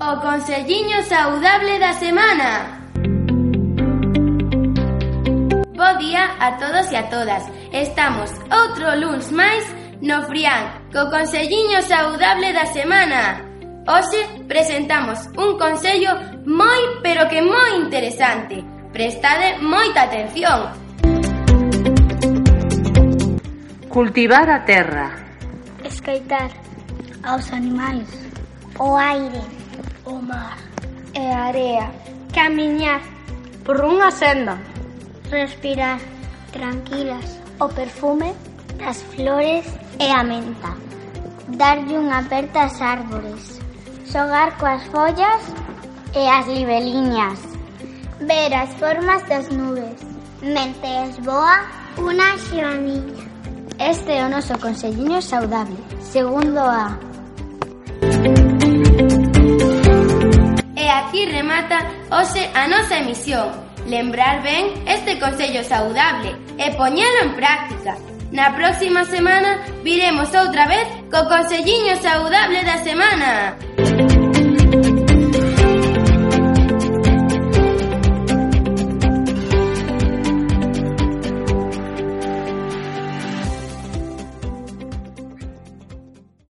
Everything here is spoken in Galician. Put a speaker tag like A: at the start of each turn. A: Conselliño saudable da semana. Bo día a todos e a todas. Estamos outro luns máis no Frián, co Conselliño saudable da semana. Hoxe presentamos un consello moi pero que moi interesante. Prestade moita atención.
B: Cultivar a terra,
C: Escoitar aos animais, o aire, o mar e a area. Camiñar,
D: Por unha senda.
C: respirar, tranquilas, o perfume das flores e a menta. Darlle unha aperta ás árbores. Xogar coas follas e as libeliñas. Ver as formas das nubes. Mentes boa unha xoaniña. Este é o noso conselliño saudable. Segundo a
A: E aquí remata hoxe a nosa emisión. Lembrar ben este consello saudable e poñelo en práctica. Na próxima semana viremos outra vez co conselliño saudable da semana.